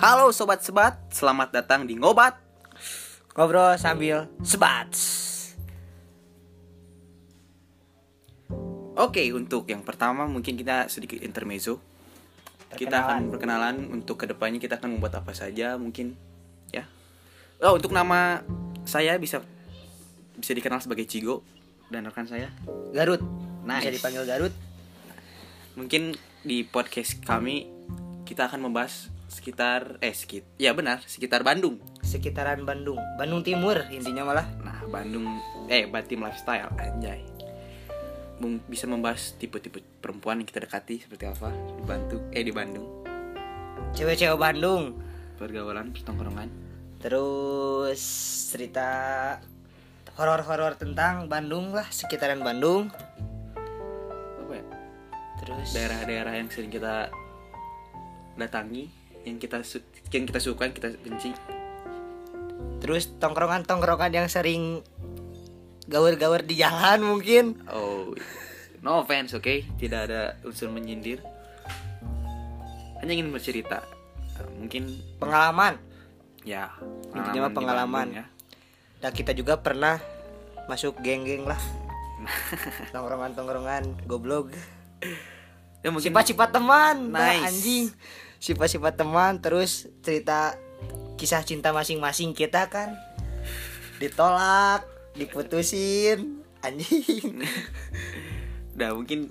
Halo sobat sebat, selamat datang di Ngobat. Ngobrol sambil sebat. Oke, untuk yang pertama mungkin kita sedikit intermezzo. Kita akan perkenalan untuk kedepannya kita akan membuat apa saja mungkin ya. Oh, untuk nama saya bisa bisa dikenal sebagai Cigo dan rekan saya. Garut. Nice. Bisa dipanggil Garut. Mungkin di podcast kami kita akan membahas sekitar eh sekit ya benar sekitar Bandung. Sekitaran Bandung. Bandung Timur intinya malah. Nah, Bandung eh Batim lifestyle anjay. Mung- Bisa membahas tipe-tipe perempuan yang kita dekati seperti apa di Bandung, eh di Bandung. Cewek-cewek Bandung. Pergaulan, pertongkrongan. Terus cerita horor-horor tentang Bandung lah, sekitaran Bandung. Apa ya? Terus Daerah-daerah yang sering kita datangi, yang kita su- yang kita suka, yang kita benci. terus tongkrongan-tongkrongan yang sering gawer-gawer di jalan mungkin. Oh. No offense, oke? Tidak ada unsur menyindir. Hanya ingin bercerita. Eh, Mungkin Pengalaman. ya Intinya mah di pengalaman. Bandung, ya. Dan kita juga pernah masuk geng-geng lah. Tongkrongan-tongkrongan goblok. Ya mungkin Sifat-sifat teman, nah, Nice. anjing. Sifat-sifat teman terus cerita kisah cinta masing-masing kita kan. Ditolak, diputusin, anjing. Nah mungkin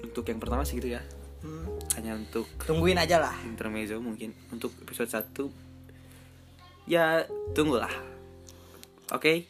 untuk yang pertama sih gitu ya Hmm, Hanya untuk Tungguin aja lah. intermezzo mungkin Untuk episode 1 Ya tunggulah Oke